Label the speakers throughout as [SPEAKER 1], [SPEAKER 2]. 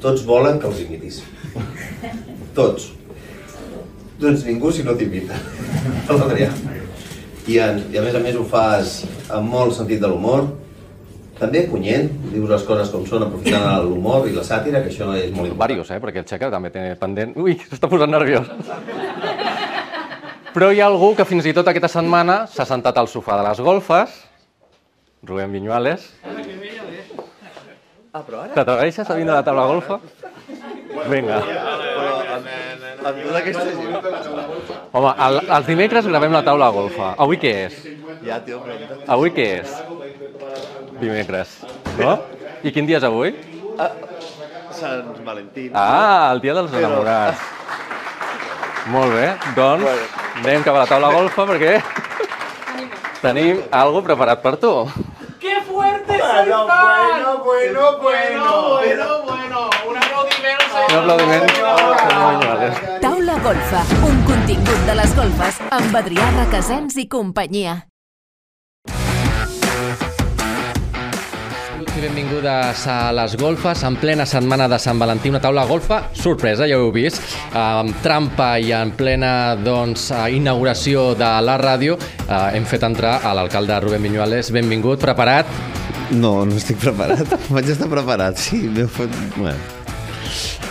[SPEAKER 1] Tots volen que els imitis. Tots. Tu ets ningú si no t'imita. L'Adrià. I, a, I a més a més ho fas amb molt sentit de l'humor, també punyent, dius les coses com són, aprofitant l'humor i la sàtira, que això és molt important.
[SPEAKER 2] Varios, eh? Perquè el Xeca també té pendent... Ui, s'està posant nerviós. Però hi ha algú que fins i tot aquesta setmana s'ha sentat al sofà de les golfes, Rubén Viñuales.
[SPEAKER 3] Ah, però ara?
[SPEAKER 2] T'atreveixes a vindre a la taula de golfa? Vinga.
[SPEAKER 1] Amb tu d'aquesta gent.
[SPEAKER 2] Home, el, els dimecres gravem la taula de golfa. Avui què és?
[SPEAKER 1] Ja, tio, pregunta.
[SPEAKER 2] Avui què és? Dimecres. No? I quin dia és avui?
[SPEAKER 1] Sant Valentín.
[SPEAKER 2] Ah, el dia dels enamorats. Molt bé, doncs anem cap a la taula golfa perquè tenim algo preparat per tu.
[SPEAKER 4] ¡Qué fuerte soy fan!
[SPEAKER 1] bueno, bueno,
[SPEAKER 4] bueno, bueno. Un aplaudimiento.
[SPEAKER 2] Un aplaudiment. Senyor Viñuales.
[SPEAKER 5] Taula Golfa, un contingut de les golfes amb Adrià Requesens i companyia.
[SPEAKER 2] Benvinguts i benvingudes a les golfes, en plena setmana de Sant Valentí, una taula golfa, sorpresa, ja ho heu vist, amb trampa i en plena doncs, eh, inauguració de la ràdio, eh, hem fet entrar a l'alcalde Rubén Viñuales. Benvingut, preparat?
[SPEAKER 6] No, no estic preparat. Vaig estar preparat, sí. M'heu fet... Bueno.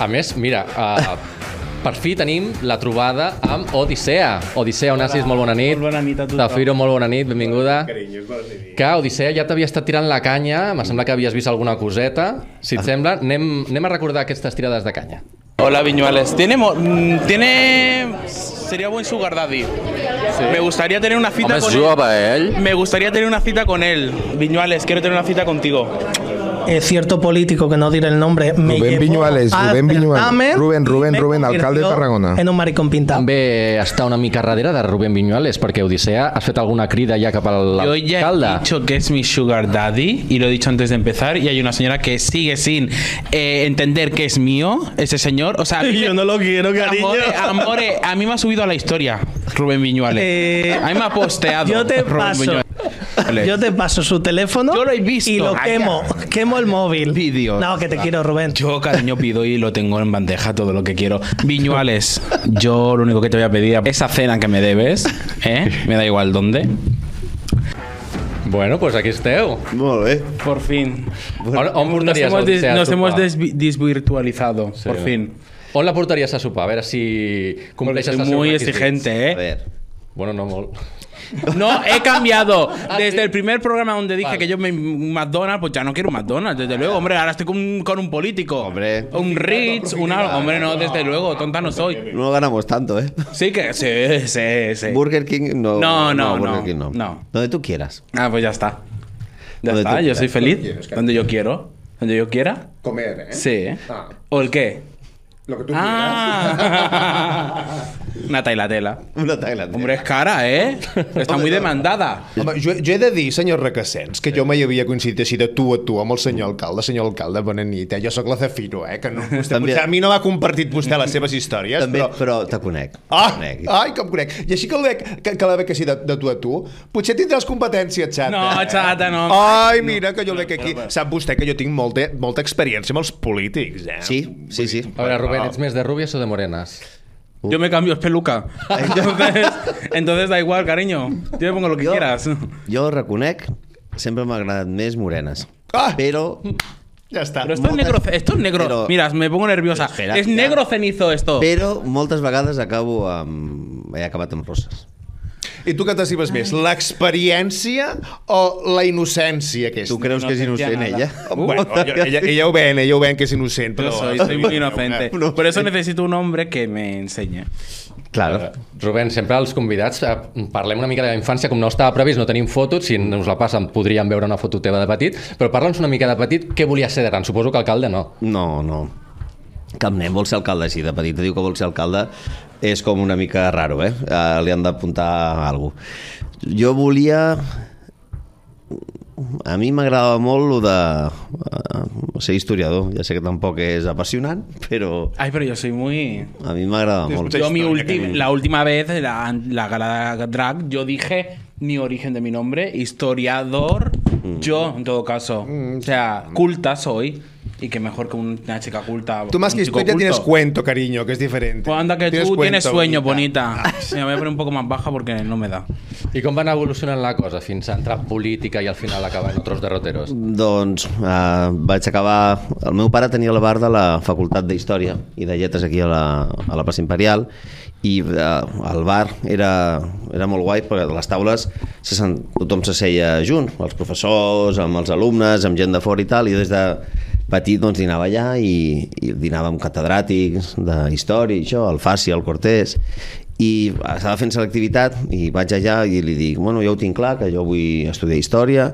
[SPEAKER 2] A més, mira, eh, per fi tenim la trobada amb Odissea. Odissea Onassis, molt bona nit.
[SPEAKER 7] Molt bona nit a tothom.
[SPEAKER 2] Zafiro, molt bona nit, benvinguda. Que Odissea ja t'havia estat tirant la canya, me sembla que havies vist alguna coseta. Si et sembla, anem, anem a recordar aquestes tirades de canya.
[SPEAKER 8] Hola Viñuales, tiene, mo- mm, tiene, sería buen sugar daddy. Me gustaría tener una cita con
[SPEAKER 2] ell.
[SPEAKER 8] él. Me gustaría tener una cita con él. Viñuales, quiero tener una cita contigo.
[SPEAKER 4] Eh, cierto político que no diré el nombre me
[SPEAKER 9] Rubén
[SPEAKER 4] llevó
[SPEAKER 9] Viñuales,
[SPEAKER 4] al
[SPEAKER 9] Rubén Viñuales,
[SPEAKER 4] certamen
[SPEAKER 9] Rubén,
[SPEAKER 4] y
[SPEAKER 9] Rubén,
[SPEAKER 4] me
[SPEAKER 9] Rubén, alcalde de
[SPEAKER 4] convirtió
[SPEAKER 9] Tarragona.
[SPEAKER 4] En un maricón pintado.
[SPEAKER 2] També està una mica darrere de Rubén Viñuales, perquè Odissea has fet alguna crida ja cap a
[SPEAKER 8] Yo ya he
[SPEAKER 2] l'alcalde.
[SPEAKER 8] dicho que es mi sugar daddy y lo he dicho antes de empezar y hay una señora que sigue sin eh, entender que es mío ese señor. O sea, a mí me-
[SPEAKER 4] Yo no lo quiero, cariño.
[SPEAKER 8] Amore, amore, a mí me ha subido a la historia Rubén Viñuales.
[SPEAKER 4] Eh,
[SPEAKER 8] a mí me ha posteado.
[SPEAKER 4] yo te
[SPEAKER 8] Rubén
[SPEAKER 4] paso.
[SPEAKER 8] Viñuales.
[SPEAKER 4] Yo te paso su teléfono.
[SPEAKER 8] Yo lo he visto.
[SPEAKER 4] Y lo
[SPEAKER 8] Calla.
[SPEAKER 4] quemo. Quemo el móvil.
[SPEAKER 8] Vídeos.
[SPEAKER 4] No, que te quiero, Rubén.
[SPEAKER 8] Yo, cariño, pido y lo tengo en bandeja todo lo que quiero. Viñuales, yo lo único que te voy a pedir esa cena que me debes, ¿eh? Me da igual dónde.
[SPEAKER 2] Bueno, pues aquí esteu.
[SPEAKER 6] Molt bé.
[SPEAKER 8] Por fin.
[SPEAKER 2] On, on
[SPEAKER 8] Nos
[SPEAKER 2] portaries
[SPEAKER 8] hemos, des-
[SPEAKER 2] Odissea a
[SPEAKER 8] nos hemos
[SPEAKER 2] sopar?
[SPEAKER 8] desvi- desvirtualizado, por fin.
[SPEAKER 2] On la portaries a sopar? A veure si
[SPEAKER 8] Porque
[SPEAKER 2] compleixes
[SPEAKER 8] soy
[SPEAKER 2] els seus
[SPEAKER 8] muy
[SPEAKER 2] requisits.
[SPEAKER 8] exigente,
[SPEAKER 6] A
[SPEAKER 8] ¿eh?
[SPEAKER 6] veure.
[SPEAKER 2] Bueno, no molt.
[SPEAKER 8] No, he cambiado. Desde
[SPEAKER 2] Ah, sí.
[SPEAKER 8] el primer programa donde dije
[SPEAKER 2] Vale.
[SPEAKER 8] que yo me un McDonald's, pues ya no quiero un McDonald's, desde luego. Hombre, ahora estoy con, con un político.
[SPEAKER 6] Hombre.
[SPEAKER 8] Un Ritz, un algo. Hombre, no, desde luego. Tonta no soy.
[SPEAKER 6] No ganamos tanto, ¿eh?
[SPEAKER 8] Sí que... Sí, sí, sí.
[SPEAKER 6] Burger King no.
[SPEAKER 8] No, no,
[SPEAKER 6] Burger
[SPEAKER 8] no,
[SPEAKER 6] King no.
[SPEAKER 8] no.
[SPEAKER 6] Donde tú quieras.
[SPEAKER 8] Ah, pues ya está. Ya
[SPEAKER 6] Donde
[SPEAKER 8] está,
[SPEAKER 6] tú
[SPEAKER 8] yo soy
[SPEAKER 6] quieras.
[SPEAKER 8] feliz.
[SPEAKER 9] quieres, cariño.
[SPEAKER 8] Donde yo quiero. Donde yo quiera.
[SPEAKER 9] Comer, ¿eh?
[SPEAKER 8] Sí. ¿eh?
[SPEAKER 9] Ah.
[SPEAKER 8] ¿O el qué?
[SPEAKER 9] Lo que tú
[SPEAKER 8] Ah. Una tailatela.
[SPEAKER 6] Una Tailandia.
[SPEAKER 8] Hombre, es cara, ¿eh? Está muy demandada.
[SPEAKER 10] Home, jo, jo he de dir, senyor Requesens, que jo mai havia coincidit així de tu a tu amb el senyor alcalde. Senyor alcalde, bona nit. Eh? Jo sóc la Zafiro, eh? Que no, vostè,
[SPEAKER 6] També-
[SPEAKER 10] potser a mi no m'ha compartit vostè les seves històries,
[SPEAKER 6] També,
[SPEAKER 10] però...
[SPEAKER 6] però te conec.
[SPEAKER 10] Ah,
[SPEAKER 6] Te conec.
[SPEAKER 10] ai, que em conec. I així que, el veig, que, que la veig així de, de tu a tu, potser tindràs competència, xata.
[SPEAKER 8] No,
[SPEAKER 10] eh?
[SPEAKER 8] xata, no.
[SPEAKER 10] Ai, mira, que jo veig aquí... Sap vostè que jo tinc molta, molta experiència amb els polítics, eh?
[SPEAKER 6] Sí, sí, sí.
[SPEAKER 2] A veure, Rubén, ets més de rubies o de morenes?
[SPEAKER 8] Yo me cambio, es peluca. Entonces, entonces da igual, cariño. Yo te pongo lo que quieras.
[SPEAKER 6] Jo reconec, sempre m'ha agradat més morenes.
[SPEAKER 10] Ah!
[SPEAKER 6] Però
[SPEAKER 10] Ja està.
[SPEAKER 8] Pero esto es negro. Esto es negro.
[SPEAKER 6] Pero-
[SPEAKER 8] Mira, me pongo nerviosa.
[SPEAKER 6] Espera,
[SPEAKER 8] es
[SPEAKER 6] ya.
[SPEAKER 8] negro cenizo
[SPEAKER 10] Oh.
[SPEAKER 8] esto.
[SPEAKER 6] però moltes vegades acabo amb... he acabat amb roses.
[SPEAKER 10] I tu què t'estimes més, l'experiència o la innocència aquesta?
[SPEAKER 6] Tu creus que és
[SPEAKER 8] No
[SPEAKER 6] innocent
[SPEAKER 8] sentia
[SPEAKER 6] ella?
[SPEAKER 10] Bueno, ella, ella, ella ho ven, ella ho ven que és innocent,
[SPEAKER 8] Yo
[SPEAKER 10] però...
[SPEAKER 8] soy, soy muy inocente.
[SPEAKER 6] no.
[SPEAKER 8] Por eso necesito un hombre que me enseñe.
[SPEAKER 6] Claro.
[SPEAKER 2] Rubén, sempre els convidats eh, parlem una mica de la infància, com no estava previst, no tenim fotos, si no us la passen podríem veure una foto teva de petit, però parla'ns una mica de petit, què volies ser de gran? Suposo que alcalde no.
[SPEAKER 6] No, no. Cap nen vol ser alcalde així de petit. Diu que vol ser alcalde és com una mica raro, eh? Eh, Li han d'apuntar a alguna Jo volia... A mi m'agradava molt lo de eh, ser historiador. Ja sé que tampoc és apassionant, però
[SPEAKER 8] Ay, pero yo soy muy.
[SPEAKER 6] a mi m'agradava molt.
[SPEAKER 8] Yo mi ulti- la última vez, la, la gala drag, yo dije mi origen de mi
[SPEAKER 10] Mm,
[SPEAKER 8] nombre, historiador, yo en todo caso. O sea, culta soy. y que mejor que una chica oculta.
[SPEAKER 10] Tú más
[SPEAKER 8] un
[SPEAKER 10] que
[SPEAKER 8] chico
[SPEAKER 10] historia tienes
[SPEAKER 8] oculto.
[SPEAKER 10] cuento, cariño, que es diferente.
[SPEAKER 8] Pues anda que tú tienes
[SPEAKER 10] cuento,
[SPEAKER 8] sueño, bonita.
[SPEAKER 10] Ah.
[SPEAKER 8] Sí, me voy a poner un poco más baja porque no me da.
[SPEAKER 11] I com va anar evolucionant la cosa fins a entrar en política i al final acabar en otros derroteros?
[SPEAKER 6] Doncs eh, vaig acabar... El meu pare tenia la bar de la Facultat d'Història i de Lletres aquí a la, a la Plaça Imperial i eh, el bar era, era molt guai perquè les taules se sent, tothom se seia junt, els professors, amb els alumnes, amb gent de fora i tal, i jo des de petit doncs, dinava allà i, i dinava amb catedràtics de història i això, el Faci, el Cortés i estava fent selectivitat i vaig allà i li dic bueno, jo ho tinc clar, que jo vull estudiar història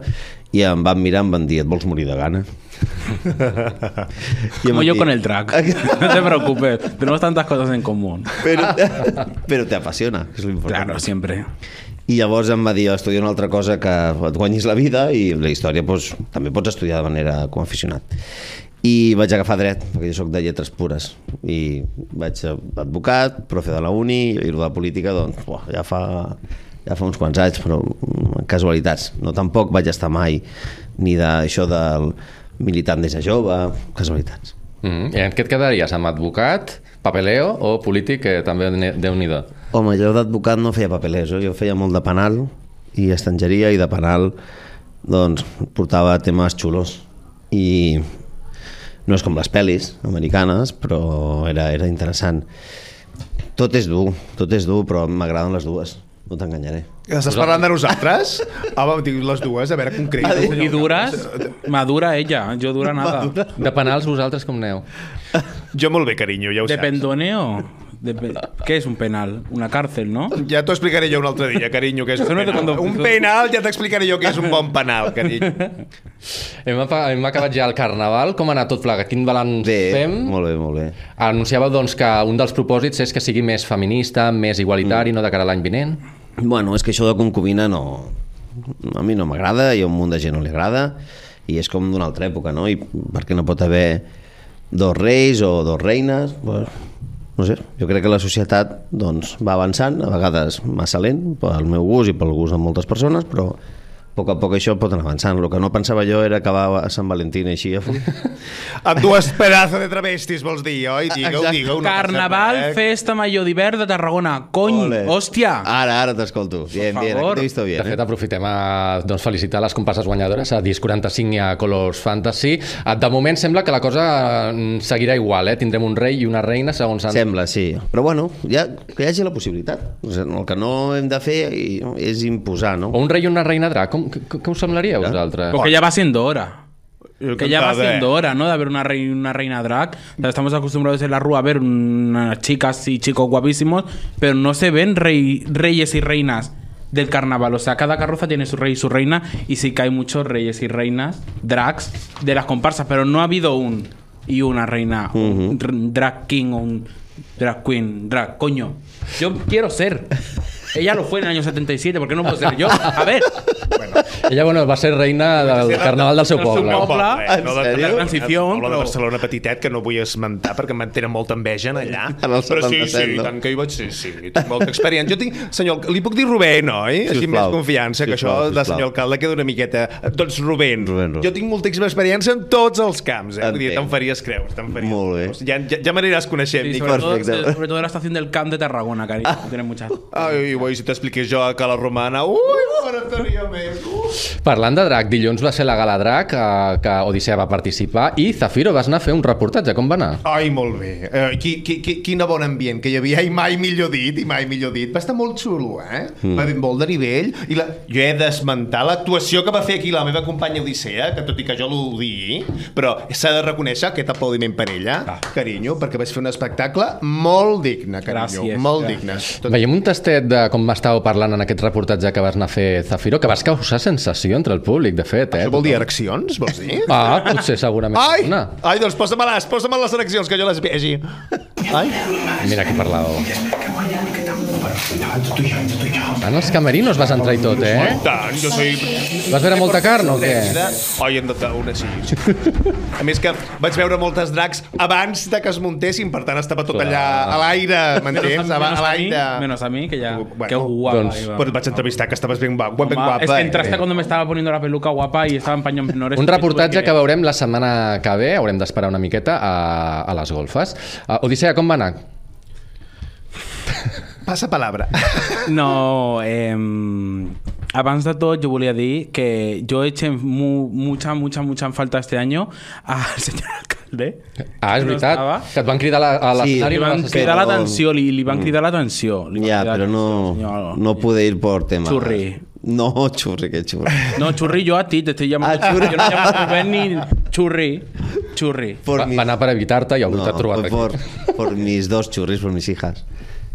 [SPEAKER 6] i em van mirar, em van dir, et vols morir de gana? I em
[SPEAKER 8] Como
[SPEAKER 6] van
[SPEAKER 8] yo
[SPEAKER 6] dir,
[SPEAKER 8] con el track. No te preocupes, tenemos tantas cosas en común.
[SPEAKER 6] Però, però t'apassiona, que és l'important.
[SPEAKER 8] Claro, siempre.
[SPEAKER 6] I llavors em va dir, estudia una altra cosa que et guanyis la vida i la història doncs, també pots estudiar de manera com a aficionat. I vaig agafar dret, perquè jo sóc de lletres pures. I vaig ser advocat, profe de la uni, i lo de política, doncs, buah, ja fa ja fa uns quants anys, però mm, casualitats. No tampoc vaig estar mai ni d'això del militant des de jove, casualitats.
[SPEAKER 11] Mm -hmm. I en què et quedaries? Amb advocat, papeleo o polític, que també ne- déu-n'hi-do?
[SPEAKER 6] Home, jo d'advocat no feia papelers, eh? jo feia molt de penal i estangeria i de penal doncs portava temes xulos i no és com les pel·lis americanes però era, era interessant tot és dur, tot és dur però m'agraden les dues, no t'enganyaré
[SPEAKER 10] Estàs parlant de nosaltres? Home, dic les dues, a veure concret.
[SPEAKER 8] Y duras, madura ella, yo dura nada.
[SPEAKER 11] De penals vosaltres com aneu?
[SPEAKER 10] Jo molt bé, carinyo, ja ho
[SPEAKER 8] ¿De
[SPEAKER 10] saps.
[SPEAKER 8] pendoneo? De pe- ¿Qué es un penal? Una cárcel, ¿no?
[SPEAKER 10] Ja t'ho explicaré jo un altre dia, carinyo, que és
[SPEAKER 8] Això
[SPEAKER 10] un
[SPEAKER 8] no te
[SPEAKER 10] penal.
[SPEAKER 8] condo-
[SPEAKER 10] Un penal, ja t'explicaré jo que és un bon penal, carinyo.
[SPEAKER 11] Hem, apa- hem acabat ja el carnaval, com ha anat tot plegat? Quin balanç
[SPEAKER 6] bé,
[SPEAKER 11] fem?
[SPEAKER 6] molt bé, molt bé
[SPEAKER 11] Anunciàveu doncs, que un dels propòsits és que sigui més feminista, més igualitari, mm. no de cara a l'any vinent.
[SPEAKER 6] Bueno, és que això de concubina no... A mi no m'agrada i a un munt de gent no li agrada i és com d'una altra època, no? I perquè no pot haver dos reis o dos reines, pues, no sé, jo crec que la societat doncs, va avançant, a vegades massa lent, pel meu gust i pel gust de moltes persones, però a poc a poc això pot anar avançant. El que no pensava jo era acabar a Sant Valentín així a fons.
[SPEAKER 10] Amb dues pedazo de travestis, vols dir, oi? Digue-ho,
[SPEAKER 6] Exacte.
[SPEAKER 10] digue-ho. no passa
[SPEAKER 8] Carnaval,
[SPEAKER 10] res.
[SPEAKER 8] festa mayor d'hivern de Tarragona. Cony,
[SPEAKER 6] Ole. Ah.
[SPEAKER 8] hòstia!
[SPEAKER 6] Ara, ara t'escolto. Bien, bien, aquí
[SPEAKER 8] favor.
[SPEAKER 6] t'he visto
[SPEAKER 11] De
[SPEAKER 6] bien.
[SPEAKER 11] fet,
[SPEAKER 6] Eh?
[SPEAKER 11] aprofitem a doncs, felicitar les comparses guanyadores a Disc 45 i a Colors Fantasy. Ah, De moment sembla que la cosa mm, seguirà igual, eh? Tindrem un rei i una reina, segons han...
[SPEAKER 6] Sembla, sí. Però bueno, ja, que hi hagi la possibilitat. O sigui, El que no hem de fer i- és imposar, no?
[SPEAKER 8] Oh,
[SPEAKER 11] O un rei i una reina drac. Com, com, com us semblaria a vosaltres?
[SPEAKER 8] Porque ya va siendo hora.
[SPEAKER 10] Jo
[SPEAKER 8] Que ya va
[SPEAKER 10] encantada, eh?
[SPEAKER 8] siendo hora, ¿no? De haber una, rei- una reina drag. O sea, estamos acostumbrados en la rúa a ver unas chicas y chicos guapísimos, pero no se ven rey- reyes y reinas del carnaval. O sea, cada carroza tiene su rey y su reina, y sí que hay muchos reyes y reinas drags de las comparsas, pero no ha habido un y una reina, un r- drag king o un drag queen, drag, coño. Yo quiero ser. Ella lo fue en el año 77, ¿por qué no puedo ser yo? A ver.
[SPEAKER 11] Ella, bueno, va ser reina del carnaval del seu
[SPEAKER 8] del seu
[SPEAKER 11] poble.
[SPEAKER 8] poble.
[SPEAKER 10] Poble, no
[SPEAKER 6] En sèrio?
[SPEAKER 10] de Tarragona,
[SPEAKER 8] La transició,
[SPEAKER 10] poble de
[SPEAKER 8] però-
[SPEAKER 10] Barcelona petitet, que no vull esmentar perquè me'n tenen molta enveja en allà.
[SPEAKER 6] En el
[SPEAKER 10] Però sí, sí,
[SPEAKER 6] 77, no?
[SPEAKER 10] i tant que hi vaig, sí, sí, tinc molta experiència. Jo tinc, senyor, alc- li puc dir Rubén, oi? Així amb més
[SPEAKER 6] Sisplau.
[SPEAKER 10] confiança, que això
[SPEAKER 6] Sisplau,
[SPEAKER 10] de
[SPEAKER 6] sisplau.
[SPEAKER 10] senyor alcalde queda una miqueta... Doncs Rubén,
[SPEAKER 6] Rubén, Rubén.
[SPEAKER 10] jo tinc moltíssima experiència en tots els camps, eh? Vull dir,
[SPEAKER 6] Entenc.
[SPEAKER 10] te'n faries creus, te'n faries
[SPEAKER 6] Molt bé.
[SPEAKER 10] creus. Ja, ja, ja m'aniràs coneixent,
[SPEAKER 8] Sí,
[SPEAKER 10] sí,
[SPEAKER 8] sobre, todo,
[SPEAKER 6] Perfecto.
[SPEAKER 8] sobre todo en la estación del Camp de Tarragona, cariño. que Tiene muchas.
[SPEAKER 10] Ai, ui, si t'expliqués jo a Cala Romana... Ui, m'agradaria més! Ui.
[SPEAKER 11] Parlant de drac, dilluns va ser la gala drac eh, que Odissea va participar i Zafiro vas anar a fer un reportatge. Com va anar?
[SPEAKER 10] Ai, molt bé. Eh, qui, qui, qui, quina bon ambient que hi havia. I mai millor dit, i mai millor dit. Va estar molt xulo, eh? Mm. Va haver molt de nivell. I la... Jo he d'esmentar l'actuació que va fer aquí la meva companya Odissea, que tot i que jo l'odiï, però s'ha de reconèixer aquest aplaudiment per ella, ah. carinyo, perquè vas fer un espectacle molt digne, carinyo.
[SPEAKER 8] Gràcies,
[SPEAKER 10] molt
[SPEAKER 8] gràcies.
[SPEAKER 10] digne.
[SPEAKER 11] Tot... Veiem un tastet de com m'estàveu parlant en aquest reportatge que vas anar a fer, Zafiro, que vas causar sensació entre el públic, de fet, eh?
[SPEAKER 10] Això vol dir ereccions, vols dir?
[SPEAKER 11] Ah, potser segurament.
[SPEAKER 10] Ai,
[SPEAKER 11] Una.
[SPEAKER 10] ai, doncs posa-me-les, posa-me les ereccions, que jo les vegi. Ai.
[SPEAKER 11] Mira que parlàveu. En els camerinos vas entrar i tot, eh?
[SPEAKER 10] Tant, jo soy...
[SPEAKER 11] Vas veure molta carn o què?
[SPEAKER 10] Oi, hem de una així. A més que vaig veure moltes dracs abans de que es muntessin, per tant estava tot allà a l'aire, m'entens?
[SPEAKER 8] a,
[SPEAKER 10] A, a
[SPEAKER 8] mí,
[SPEAKER 10] l'aire.
[SPEAKER 8] menos a mí, que ya.
[SPEAKER 10] Bueno,
[SPEAKER 8] qué guapa.
[SPEAKER 11] doncs,
[SPEAKER 8] iba.
[SPEAKER 10] Però et vaig entrevistar que estaves ben guapa. ben
[SPEAKER 8] Mamá,
[SPEAKER 10] guapa
[SPEAKER 8] es que entraste
[SPEAKER 10] eh?
[SPEAKER 8] cuando me estaba poniendo la peluca guapa y estaba en paños menores.
[SPEAKER 11] Un
[SPEAKER 8] y me tuve
[SPEAKER 11] reportatge que
[SPEAKER 8] ir.
[SPEAKER 11] veurem la setmana que ve, haurem d'esperar una miqueta a, a les golfes. Uh, Odissea, com va anar?
[SPEAKER 10] Passa palabra.
[SPEAKER 8] No, eh, abans de tot jo volia dir que jo he hecho mu mucha, mucha, mucha en falta este año al señor alcalde.
[SPEAKER 11] Ah, és
[SPEAKER 8] No
[SPEAKER 11] veritat,
[SPEAKER 8] estava.
[SPEAKER 11] que et van cridar a la- a
[SPEAKER 6] Sí,
[SPEAKER 11] l'escenari.
[SPEAKER 8] Li van
[SPEAKER 11] Sí,
[SPEAKER 8] cridar
[SPEAKER 6] però-
[SPEAKER 8] l'atenció, li, li van cridar l'atenció. li van
[SPEAKER 6] Mm. Ya,
[SPEAKER 8] cridar
[SPEAKER 6] pero no,
[SPEAKER 8] l'atenció,
[SPEAKER 6] no pude ir por tema.
[SPEAKER 8] Churri.
[SPEAKER 6] No, churri, qué churri.
[SPEAKER 8] No, churri, yo a ti te estoy llamando.
[SPEAKER 6] Ah, churri.
[SPEAKER 8] Yo no llamo a Rubén ni churri. Churri.
[SPEAKER 6] Por
[SPEAKER 11] Va,
[SPEAKER 6] mi-
[SPEAKER 11] va anar per evitar-te i algú t'ha trobat
[SPEAKER 6] por,
[SPEAKER 11] aquí.
[SPEAKER 6] por- por mis dos churris, por mis hijas.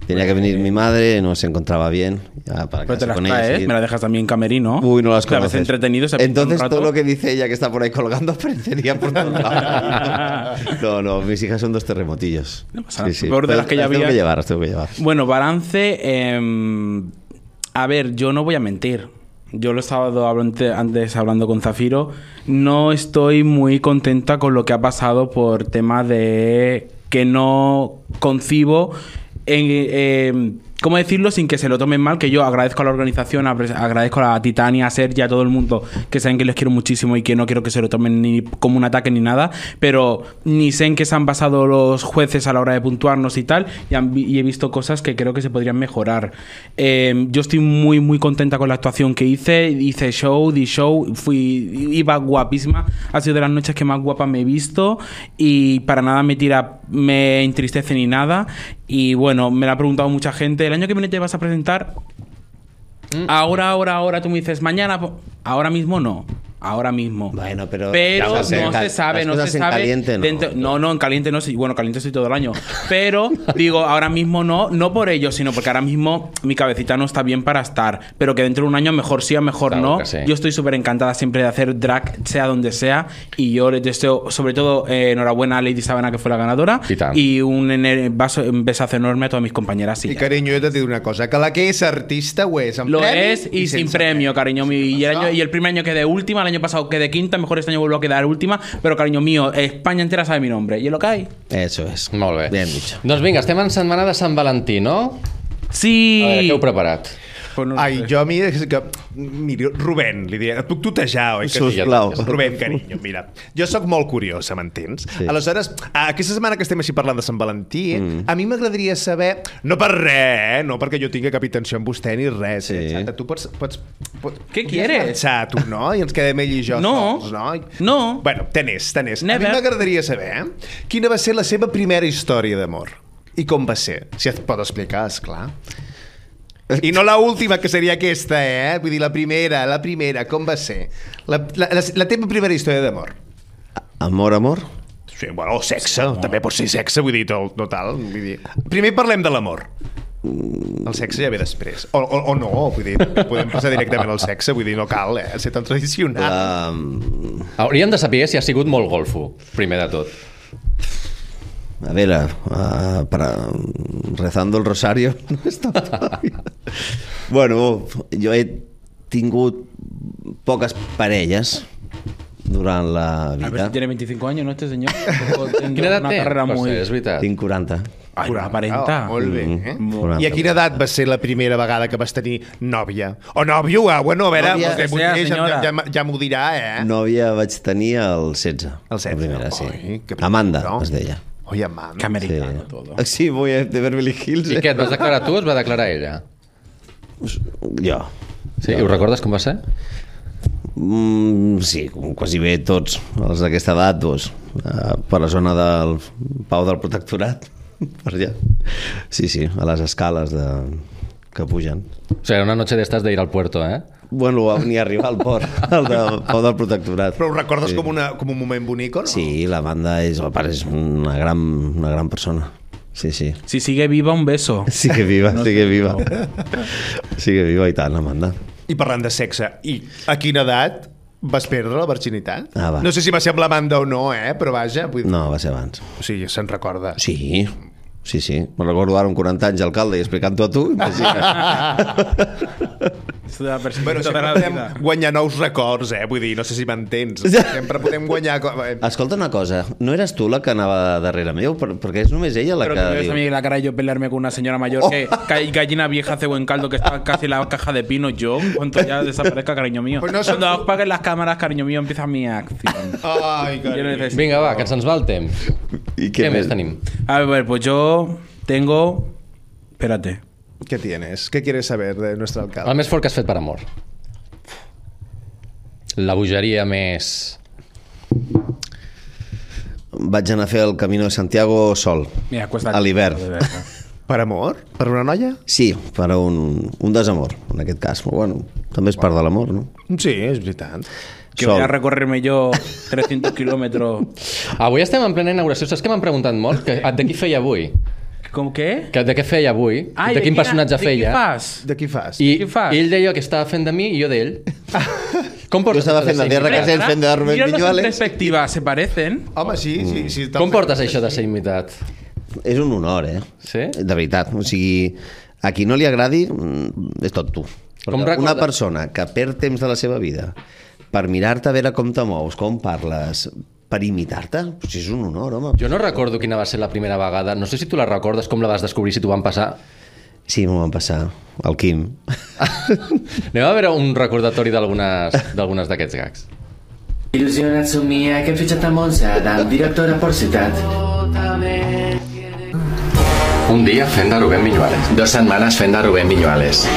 [SPEAKER 6] Tenía que venir mi madre, no se encontraba bien. Ya para
[SPEAKER 8] Pero
[SPEAKER 6] casa
[SPEAKER 8] te las
[SPEAKER 6] con ella,
[SPEAKER 8] traes, eh?
[SPEAKER 6] sí.
[SPEAKER 8] me las dejas también en camerino.
[SPEAKER 6] Uy, no las
[SPEAKER 8] Te ves
[SPEAKER 6] conoces.
[SPEAKER 8] entretenido, se pinta un
[SPEAKER 6] Entonces
[SPEAKER 8] rato.
[SPEAKER 6] todo lo que dice ella que está por ahí colgando aparecería por todos lados. No, no, mis hijas son dos terremotillos.
[SPEAKER 8] No pasa nada. Peor de las que ya
[SPEAKER 6] tengo
[SPEAKER 8] había.
[SPEAKER 6] que llevar, las tengo que llevar.
[SPEAKER 8] Bueno, balance. eh, a ver, yo no voy a mentir. Yo lo he estado hablante- antes hablando con Zafiro. No estoy muy contenta con lo que ha pasado por tema de que no concibo. En, eh, ¿Cómo decirlo sin que se lo tomen mal? Que yo agradezco a la organización, apre- agradezco a Titania, a Sergi, a todo el mundo, que saben que les quiero muchísimo y que no quiero que se lo tomen ni como un ataque ni nada, pero ni sé en qué se han basado los jueces a la hora de puntuarnos y tal, y, han vi- y he visto cosas que creo que se podrían mejorar. Eh, yo estoy muy, muy contenta con la actuación que hice, hice show, di show, fui, iba guapísima, ha sido de las noches que más guapa me he visto y para nada me tira, me entristece ni nada, y bueno, me lo ha preguntado mucha gente, ¿el año que viene te vas a presentar? Ahora, ahora, ahora tú me dices mañana. po- Ahora mismo no. Ahora mismo.
[SPEAKER 6] Bueno, pero
[SPEAKER 8] Pero
[SPEAKER 6] las
[SPEAKER 8] no
[SPEAKER 6] cosas en cal-
[SPEAKER 8] se sabe,
[SPEAKER 6] las
[SPEAKER 8] no se
[SPEAKER 6] cosas en
[SPEAKER 8] sabe.
[SPEAKER 6] caliente, no.
[SPEAKER 8] Dentro- no, no, en caliente no. sí, Bueno, caliente estoy todo el año. Pero digo, ahora mismo no, no por ello, sino porque ahora mismo mi cabecita no está bien para estar. Pero que dentro de un año mejor sí, a mejor
[SPEAKER 11] Claro
[SPEAKER 8] no.
[SPEAKER 11] que sí.
[SPEAKER 8] Yo estoy súper encantada siempre de hacer drag, sea donde sea. Y yo les deseo, sobre todo, eh, enhorabuena a Lady Sabana, que fue la ganadora.
[SPEAKER 11] Y tan.
[SPEAKER 8] Y un, ener- vaso- un besazo enorme a todas mis compañeras. y
[SPEAKER 10] I
[SPEAKER 8] ya.
[SPEAKER 10] cariño, jo t'he de dir una cosa, que la que és artista ho és amb
[SPEAKER 8] Lo
[SPEAKER 10] premi
[SPEAKER 8] es y, sin
[SPEAKER 10] sense
[SPEAKER 8] premio, cariño mío. Y el,
[SPEAKER 10] Pasado.
[SPEAKER 8] año, y el primer año quedé última, el año pasado quedé quinta, mejor este año vuelvo a quedar última, pero cariño mío, España entera sabe mi nombre. ¿Y es lo que hay?
[SPEAKER 6] Eso es.
[SPEAKER 11] Molt bé.
[SPEAKER 6] Bien dicho.
[SPEAKER 11] Doncs vinga, estem en setmana de Sant Valentí, no?
[SPEAKER 8] Sí.
[SPEAKER 11] A veure, què heu preparat?
[SPEAKER 8] Pues no
[SPEAKER 10] Ai,
[SPEAKER 8] sé.
[SPEAKER 10] jo a mi... és Que, miri, Rubén, li diria, et puc tutejar, oi? Que sí?
[SPEAKER 6] Sisplau.
[SPEAKER 10] Rubén, carinyo, mira, jo sóc molt curiosa, m'entens?
[SPEAKER 6] Sí.
[SPEAKER 10] Sí. Aleshores, a- aquesta setmana que estem així parlant de Sant Valentí, mm. a mi m'agradaria saber, no per res, eh? no perquè jo tingui cap intenció amb vostè ni res,
[SPEAKER 6] Sí.
[SPEAKER 10] sí. eh? Santa, tu pots... pots, pots
[SPEAKER 8] Què
[SPEAKER 10] podries
[SPEAKER 8] quieres?
[SPEAKER 10] Marxar, tu, no? I ens quedem ell i jo
[SPEAKER 8] No.
[SPEAKER 10] sols, no?
[SPEAKER 8] No.
[SPEAKER 10] Bueno, tenés, tenés.
[SPEAKER 8] Never.
[SPEAKER 10] A mi m'agradaria saber, eh? Quina va ser la seva primera història d'amor? I com va ser? Si et pot explicar, és clar. I no la última, que seria aquesta, eh? Vull dir, la primera, la primera, com va ser? La, la, la, la teva primera història d'amor.
[SPEAKER 6] Amor, amor.
[SPEAKER 10] Sí, bueno, o sexe, també pot ser sexe, vull dir, tot, total. Vull dir. Primer parlem de l'amor. El sexe ja ve després. O, o, o no, vull dir, podem passar directament al sexe, vull dir, no cal eh, ser tan tradicional.
[SPEAKER 6] Um,
[SPEAKER 11] Hauríem de saber si ha sigut molt golfo, primer de tot.
[SPEAKER 6] a ver, a- a- para, rezando el rosario. no está todavía. bueno, jo he tingut poques parelles durant la
[SPEAKER 8] A ver si
[SPEAKER 6] vida.
[SPEAKER 8] tiene 25 años, ¿no? Este señor. Tampoco tendrá
[SPEAKER 11] Quina edat
[SPEAKER 8] una
[SPEAKER 11] té?
[SPEAKER 8] carrera
[SPEAKER 11] Pues
[SPEAKER 8] muy.
[SPEAKER 11] sí, és veritat.
[SPEAKER 6] Tinc 40.
[SPEAKER 8] Ay, una
[SPEAKER 10] Ah,
[SPEAKER 8] aparenta.
[SPEAKER 10] molt bé, eh?
[SPEAKER 6] Mm, 40.
[SPEAKER 10] I a quina edat va ser la primera vegada que vas tenir nòvia? O nòvio, ah, bueno, a veure,
[SPEAKER 6] Nòvia,
[SPEAKER 10] vostè
[SPEAKER 8] que sea,
[SPEAKER 10] potser ja,
[SPEAKER 8] senyora.
[SPEAKER 10] ja, ja, ja m'ho dirà, eh?
[SPEAKER 6] Nòvia vaig tenir el 16.
[SPEAKER 10] El 16.
[SPEAKER 6] La primera, sí.
[SPEAKER 10] Oi, que primer,
[SPEAKER 6] Amanda,
[SPEAKER 10] no?
[SPEAKER 6] es deia.
[SPEAKER 10] Oi, Amanda.
[SPEAKER 8] Que
[SPEAKER 6] Sí.
[SPEAKER 8] americano todo.
[SPEAKER 6] Sí, voy a de Beverly Hills. eh?
[SPEAKER 11] I què, et vas declarar tu o es va declarar ella?
[SPEAKER 6] Jo.
[SPEAKER 11] Sí, i ho recordes com va ser?
[SPEAKER 6] Mm, sí, com quasi bé tots els d'aquesta edat, doncs, eh, per la zona del Pau del Protectorat, per allà. Sí, sí, a les escales de... que pugen.
[SPEAKER 11] O sigui, era una noche d'estas de ir al puerto, eh?
[SPEAKER 6] Bueno, ni arribar al port, al de Pau del Protectorat.
[SPEAKER 10] Però ho recordes
[SPEAKER 6] Sí.
[SPEAKER 10] sí. com, una, com un moment bonic, o no?
[SPEAKER 6] Sí, la banda és, el pare és una gran, una gran persona. Sí, sí.
[SPEAKER 8] Si sigue viva, un beso.
[SPEAKER 6] Sí que viva, sí que viva. Sí que viva i tant, Amanda.
[SPEAKER 10] I parlant de sexe, i a quina edat vas perdre la virginitat?
[SPEAKER 6] Ah, va.
[SPEAKER 10] no sé si va ser amb l'Amanda o no, eh? però vaja, vull dir,
[SPEAKER 6] No, va ser abans.
[SPEAKER 10] o sigui, se'n recorda.
[SPEAKER 6] Sí, Sí, sí. Me'n recordo ara amb 40 anys d'alcalde i explicant-ho a tu. Imagina.
[SPEAKER 8] Esto de la
[SPEAKER 10] Bueno,
[SPEAKER 8] perspectiva de
[SPEAKER 10] sempre
[SPEAKER 8] Tota la
[SPEAKER 10] podem
[SPEAKER 8] vida.
[SPEAKER 10] guanyar nous records, eh? Vull dir, no sé si m'entens.
[SPEAKER 6] Ja.
[SPEAKER 10] Sempre podem guanyar... co- eh,
[SPEAKER 6] Escolta una cosa, no eres tu la que anava darrere meu? Per, perquè és només ella la
[SPEAKER 8] Pero
[SPEAKER 6] que...
[SPEAKER 8] tú ves a mí la cara de yo pelearme con una señora
[SPEAKER 11] Oh.
[SPEAKER 8] mayor que que gallina vieja hace buen caldo que está casi la caja de pino yo. Cuanto ya desaparezca, cariño mío.
[SPEAKER 10] Pues no son-
[SPEAKER 8] Cuando apaguen las cámaras, cariño mío, empieza mi acción.
[SPEAKER 10] Ai,
[SPEAKER 8] Yo
[SPEAKER 10] cariño.
[SPEAKER 8] necesito-
[SPEAKER 11] Vinga, va, que se'ns va el temps.
[SPEAKER 6] I
[SPEAKER 11] Què, més tenim?
[SPEAKER 8] A ver, pues yo tengo... Espérate.
[SPEAKER 10] ¿Qué tienes? ¿Qué quieres saber de nuestro alcalde?
[SPEAKER 11] El més fort que has fet per amor. La bogeria més...
[SPEAKER 6] Vaig anar a fer el Camino de Santiago sol,
[SPEAKER 8] Mira, cuesta...
[SPEAKER 6] a l'hivern.
[SPEAKER 8] De verdad.
[SPEAKER 10] Per amor? Per una noia?
[SPEAKER 6] Sí, per a un, un desamor, en aquest cas. Però, bueno, també és part de l'amor, no?
[SPEAKER 10] Sí, és veritat.
[SPEAKER 8] Que
[SPEAKER 6] Sol.
[SPEAKER 8] voy a recorrerme yo 300 kilómetros.
[SPEAKER 11] Avui estem en plena inauguració. Saps que m'han preguntat molt? Que, de qui feia avui?
[SPEAKER 8] ¿Con qué?
[SPEAKER 11] Que, de què feia avui?
[SPEAKER 8] Ai,
[SPEAKER 11] de quin
[SPEAKER 8] quina-
[SPEAKER 11] personatge
[SPEAKER 8] de qui
[SPEAKER 11] feia?
[SPEAKER 8] fas?
[SPEAKER 10] De qui fas?
[SPEAKER 11] I,
[SPEAKER 8] Qui fas?
[SPEAKER 11] I ell deia que estava fent de mi i jo d'ell. Com
[SPEAKER 6] Jo
[SPEAKER 11] portes
[SPEAKER 6] estava
[SPEAKER 11] això
[SPEAKER 6] fent de
[SPEAKER 11] ser
[SPEAKER 6] Derra
[SPEAKER 11] imitat?
[SPEAKER 6] Casens, fent de Rubén
[SPEAKER 8] Míralos en
[SPEAKER 6] Viñuales.
[SPEAKER 8] perspectiva, se parecen.
[SPEAKER 10] Home, sí,
[SPEAKER 6] Mm.
[SPEAKER 10] sí. sí
[SPEAKER 11] Com portes això de ser imitat?
[SPEAKER 6] És un honor, eh?
[SPEAKER 11] Sí?
[SPEAKER 6] De veritat. O sigui, a qui no li agradi, mm, és tot tu.
[SPEAKER 11] Com
[SPEAKER 6] Perquè Una
[SPEAKER 11] recorda-
[SPEAKER 6] persona que perd temps de la seva vida per mirar-te a veure com te mous, com parles, per imitar-te, doncs és un honor, home.
[SPEAKER 11] Jo no recordo quina va ser la primera vegada. No sé si tu la recordes, com la vas descobrir, si t'ho van passar.
[SPEAKER 6] Sí, m'ho van passar, el Quim.
[SPEAKER 11] Anem a veure un recordatori d'algunes d'algunes d'aquests gags.
[SPEAKER 3] Il·lusionat somia que hem fitxat a Montse del director a Porcitat.
[SPEAKER 7] Un día Fenda Rubén Viñuales. Dos semanas Fenda Rubén Viñuales.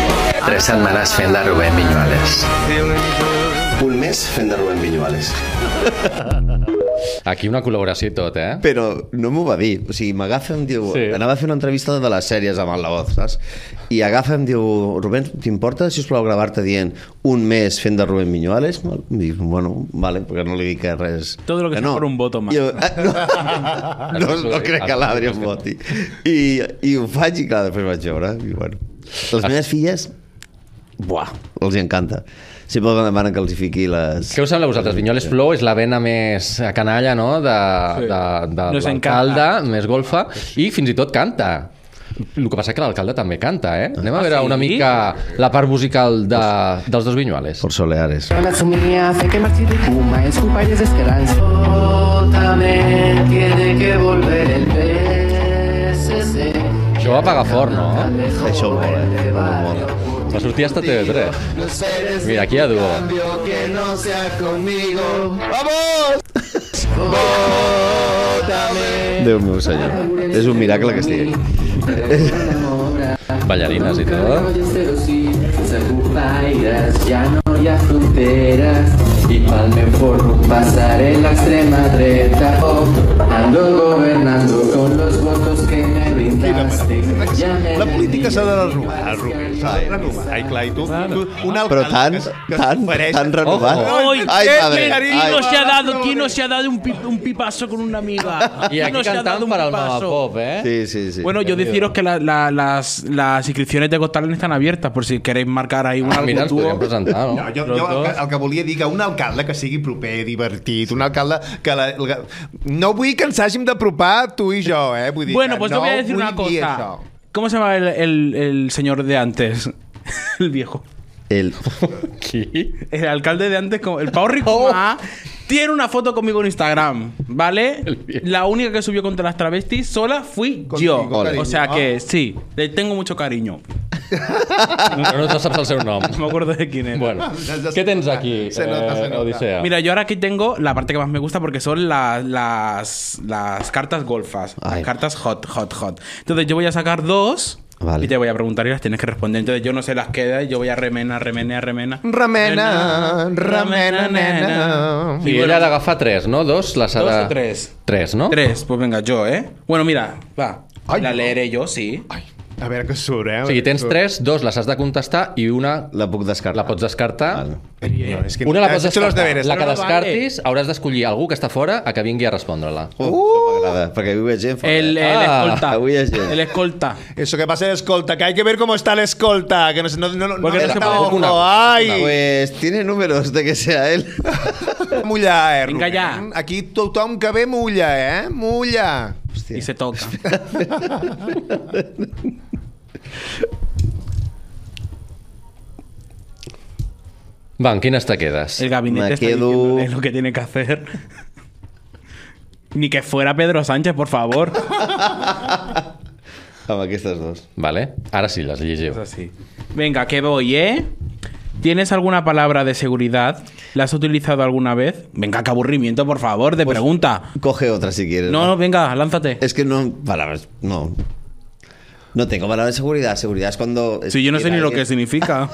[SPEAKER 7] Tres semanas Fenda Rubén Viñuales.
[SPEAKER 6] Un mes fent de Rubén Viñuales.
[SPEAKER 11] Aquí una col·laboració i tot, eh?
[SPEAKER 6] Però no m'ho va dir. O sigui, m'agafa i em diu...
[SPEAKER 11] Sí.
[SPEAKER 6] Sí. Anava a fer una entrevista de les sèries amb el Laoz, saps? I agafa i em diu... Rubén, t'importa, si us plau, gravar-te dient un mes fent de Rubén Viñuales? I dic, bueno, vale, perquè no li dic que res...
[SPEAKER 8] Todo lo que sea por un voto más.
[SPEAKER 6] I Jo, ah, no, no, no crec que l'Adri em voti. I, I ho faig i clar, després vaig veure. I, bueno. Les meves filles, buah, els hi encanta. Sempre em demanen que els hi fiqui les...
[SPEAKER 11] Què us sembla a vosaltres? Vinyoles Flow és la vena més canalla, no?, de,
[SPEAKER 8] Sí.
[SPEAKER 11] sí. de, de
[SPEAKER 8] Nos
[SPEAKER 11] l'alcalde, més golfa, i fins i tot canta. El que passa que l'alcalde també canta, eh? Anem a veure
[SPEAKER 8] sí?
[SPEAKER 11] una mica la part musical de, dels dos Vinyoles.
[SPEAKER 6] Por Soleares.
[SPEAKER 3] La somia fe que marxi de Puma, els companys d'esperança. También tiene que volver el PSC.
[SPEAKER 11] Això va pagar fort, no?
[SPEAKER 6] Això ho mola, eh? Ho mola.
[SPEAKER 11] Va sortir hasta TV3. Mira, aquí hi ha duo.
[SPEAKER 3] Que no sea conmigo.
[SPEAKER 6] Déu meu senyor. És un miracle que estigui aquí.
[SPEAKER 11] Ballarines i tot.
[SPEAKER 3] Hoy es cero sí, sense fronteres, ja no hi ha fronteres. I pel meu forro passaré l'extrema dreta. Oh, ando gobernando con los votos que me brindaste. Ja me
[SPEAKER 10] La política s'ha de
[SPEAKER 3] brindaste.
[SPEAKER 10] renovar, Rubén, s'ha de renovar. Ai, clar, i tu, tu un alcalde
[SPEAKER 6] Però tant,
[SPEAKER 10] que- que
[SPEAKER 6] tant,
[SPEAKER 10] s'ofereix-
[SPEAKER 6] tan renovat.
[SPEAKER 11] Ojo.
[SPEAKER 10] se ha dado?
[SPEAKER 8] ¿Quién no se ha dado un, pipazo con una amiga?
[SPEAKER 11] I aquí cantant per al Mamapop, eh?
[SPEAKER 6] Sí, sí, sí.
[SPEAKER 8] Bueno, yo deciros que la- la- las, las inscripciones de Costalen están abiertas por si queréis marcar ahí un
[SPEAKER 11] Ah, mira, ens
[SPEAKER 8] algo
[SPEAKER 11] podríem presentar, no?
[SPEAKER 10] No, jo, jo el, que, el que volia dir que un alcalde que sigui proper, divertit, un alcalde que... La, el que- no vull que ens hàgim d'apropar tu i jo, eh? Vull dir
[SPEAKER 8] Bueno,
[SPEAKER 10] que
[SPEAKER 8] pues
[SPEAKER 10] no
[SPEAKER 8] yo voy a decir una
[SPEAKER 10] vull dir
[SPEAKER 8] cosa.
[SPEAKER 10] això.
[SPEAKER 8] ¿Cómo se llama el, el- el señor de antes? el viejo.
[SPEAKER 6] El...
[SPEAKER 11] Qui?
[SPEAKER 8] El alcalde de antes, como- el Pau
[SPEAKER 10] Oh.
[SPEAKER 8] Ricomá, tiene una foto conmigo en Instagram, ¿vale?
[SPEAKER 11] El viejo.
[SPEAKER 8] La única que subió contra las travestis sola fui
[SPEAKER 10] Contigo,
[SPEAKER 8] yo.
[SPEAKER 10] cariño.
[SPEAKER 8] O sea
[SPEAKER 10] Ah.
[SPEAKER 8] que sí, le tengo mucho cariño.
[SPEAKER 11] Però no te saps el seu nom.
[SPEAKER 8] No me acuerdo de quién era.
[SPEAKER 11] Bueno, què tens aquí, eh,
[SPEAKER 10] Se nota, se nota.
[SPEAKER 11] Odissea?
[SPEAKER 8] Mira, yo ahora aquí tengo la parte que más me gusta porque son la- las, las cartas golfas.
[SPEAKER 6] Ay.
[SPEAKER 8] Las cartas hot, hot, hot. Entonces yo voy a sacar dos
[SPEAKER 6] Vale.
[SPEAKER 8] y te voy a preguntar y las tienes que responder. Entonces yo no sé las queda y yo voy a remena, remena, remena.
[SPEAKER 10] Remena, remena, nena.
[SPEAKER 11] I ella ha d'agafar tres, no? Dos? Les ha
[SPEAKER 8] Dos
[SPEAKER 11] de...
[SPEAKER 8] o tres.
[SPEAKER 11] Tres, no?
[SPEAKER 8] Tres, pues venga, yo, ¿eh? Bueno, mira, va.
[SPEAKER 10] Ay,
[SPEAKER 8] la
[SPEAKER 10] no.
[SPEAKER 8] leeré yo, sí.
[SPEAKER 10] Ai, a veure què surt, eh?
[SPEAKER 11] O sigui, tens tres, dos les has de contestar i una
[SPEAKER 6] La puc descartar.
[SPEAKER 11] la pots descartar
[SPEAKER 6] Val.
[SPEAKER 10] No, és que eh,
[SPEAKER 11] Una la
[SPEAKER 10] has
[SPEAKER 11] cosa
[SPEAKER 10] hecho los
[SPEAKER 11] descartar.
[SPEAKER 10] deberes.
[SPEAKER 11] la que
[SPEAKER 8] no, no, vale.
[SPEAKER 11] descartis hauràs d'escollir algú que està fora a que vingui a respondre-la.
[SPEAKER 6] Uh, això m'agrada, perquè avui veig gent fora.
[SPEAKER 8] El, el
[SPEAKER 11] Ah,
[SPEAKER 8] escolta.
[SPEAKER 6] avui hi ha gent.
[SPEAKER 8] El escolta.
[SPEAKER 10] Eso que pasa de escolta, que hay que ver cómo está el escolta. Que no, se- no, no, no,
[SPEAKER 8] Porque
[SPEAKER 10] no
[SPEAKER 8] no se
[SPEAKER 10] está
[SPEAKER 8] puede-
[SPEAKER 10] ojo,
[SPEAKER 11] una-
[SPEAKER 10] Ai!
[SPEAKER 6] Pues tiene números de que sea él.
[SPEAKER 10] Mulla, eh, Rubén.
[SPEAKER 8] Vinga, ja.
[SPEAKER 10] Aquí tothom que ve mulla, eh? Mulla.
[SPEAKER 8] Y se toca.
[SPEAKER 11] Va, en quines te quedes?
[SPEAKER 8] El gabinete
[SPEAKER 6] Me
[SPEAKER 8] está
[SPEAKER 6] quedo-
[SPEAKER 8] diciéndole lo que tiene que hacer. Ni que fuera Pedro Sánchez, por favor.
[SPEAKER 6] Amb aquestes dos.
[SPEAKER 11] Vale? Ara sí, les llegiu.
[SPEAKER 8] Es así. Venga, que voy, ¿eh? ¿Tienes alguna palabra de seguridad? ¿La has utilizado alguna vez? Venga, qué aburrimiento, por favor,
[SPEAKER 10] Pues,
[SPEAKER 8] de pregunta.
[SPEAKER 6] Coge otra si quieres.
[SPEAKER 8] No, no, venga, lánzate.
[SPEAKER 6] Es que no. Palabras. No. No tengo palabras de seguridad. Seguridad es cuando.
[SPEAKER 8] Si yo no sé ni lo que
[SPEAKER 10] ¿eh?
[SPEAKER 8] significa.